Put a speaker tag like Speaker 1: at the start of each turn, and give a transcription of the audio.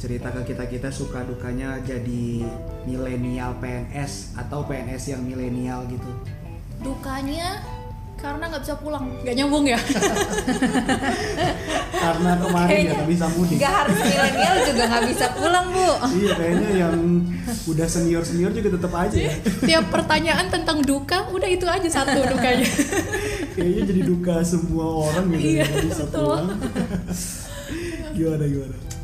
Speaker 1: cerita ke kita kita suka dukanya jadi milenial PNS atau PNS yang milenial gitu
Speaker 2: Dukanya karena nggak bisa pulang, nggak nyambung ya.
Speaker 1: karena kemarin ya nggak bisa mudik
Speaker 3: Gak harus milenial juga nggak bisa pulang bu.
Speaker 1: iya kayaknya yang udah senior senior juga tetap aja ya
Speaker 2: Tiap pertanyaan tentang duka, udah itu aja satu dukanya.
Speaker 1: kayaknya jadi duka semua orang gitu
Speaker 2: Iya,
Speaker 1: nggak bisa
Speaker 2: betul.
Speaker 1: pulang gimana gimana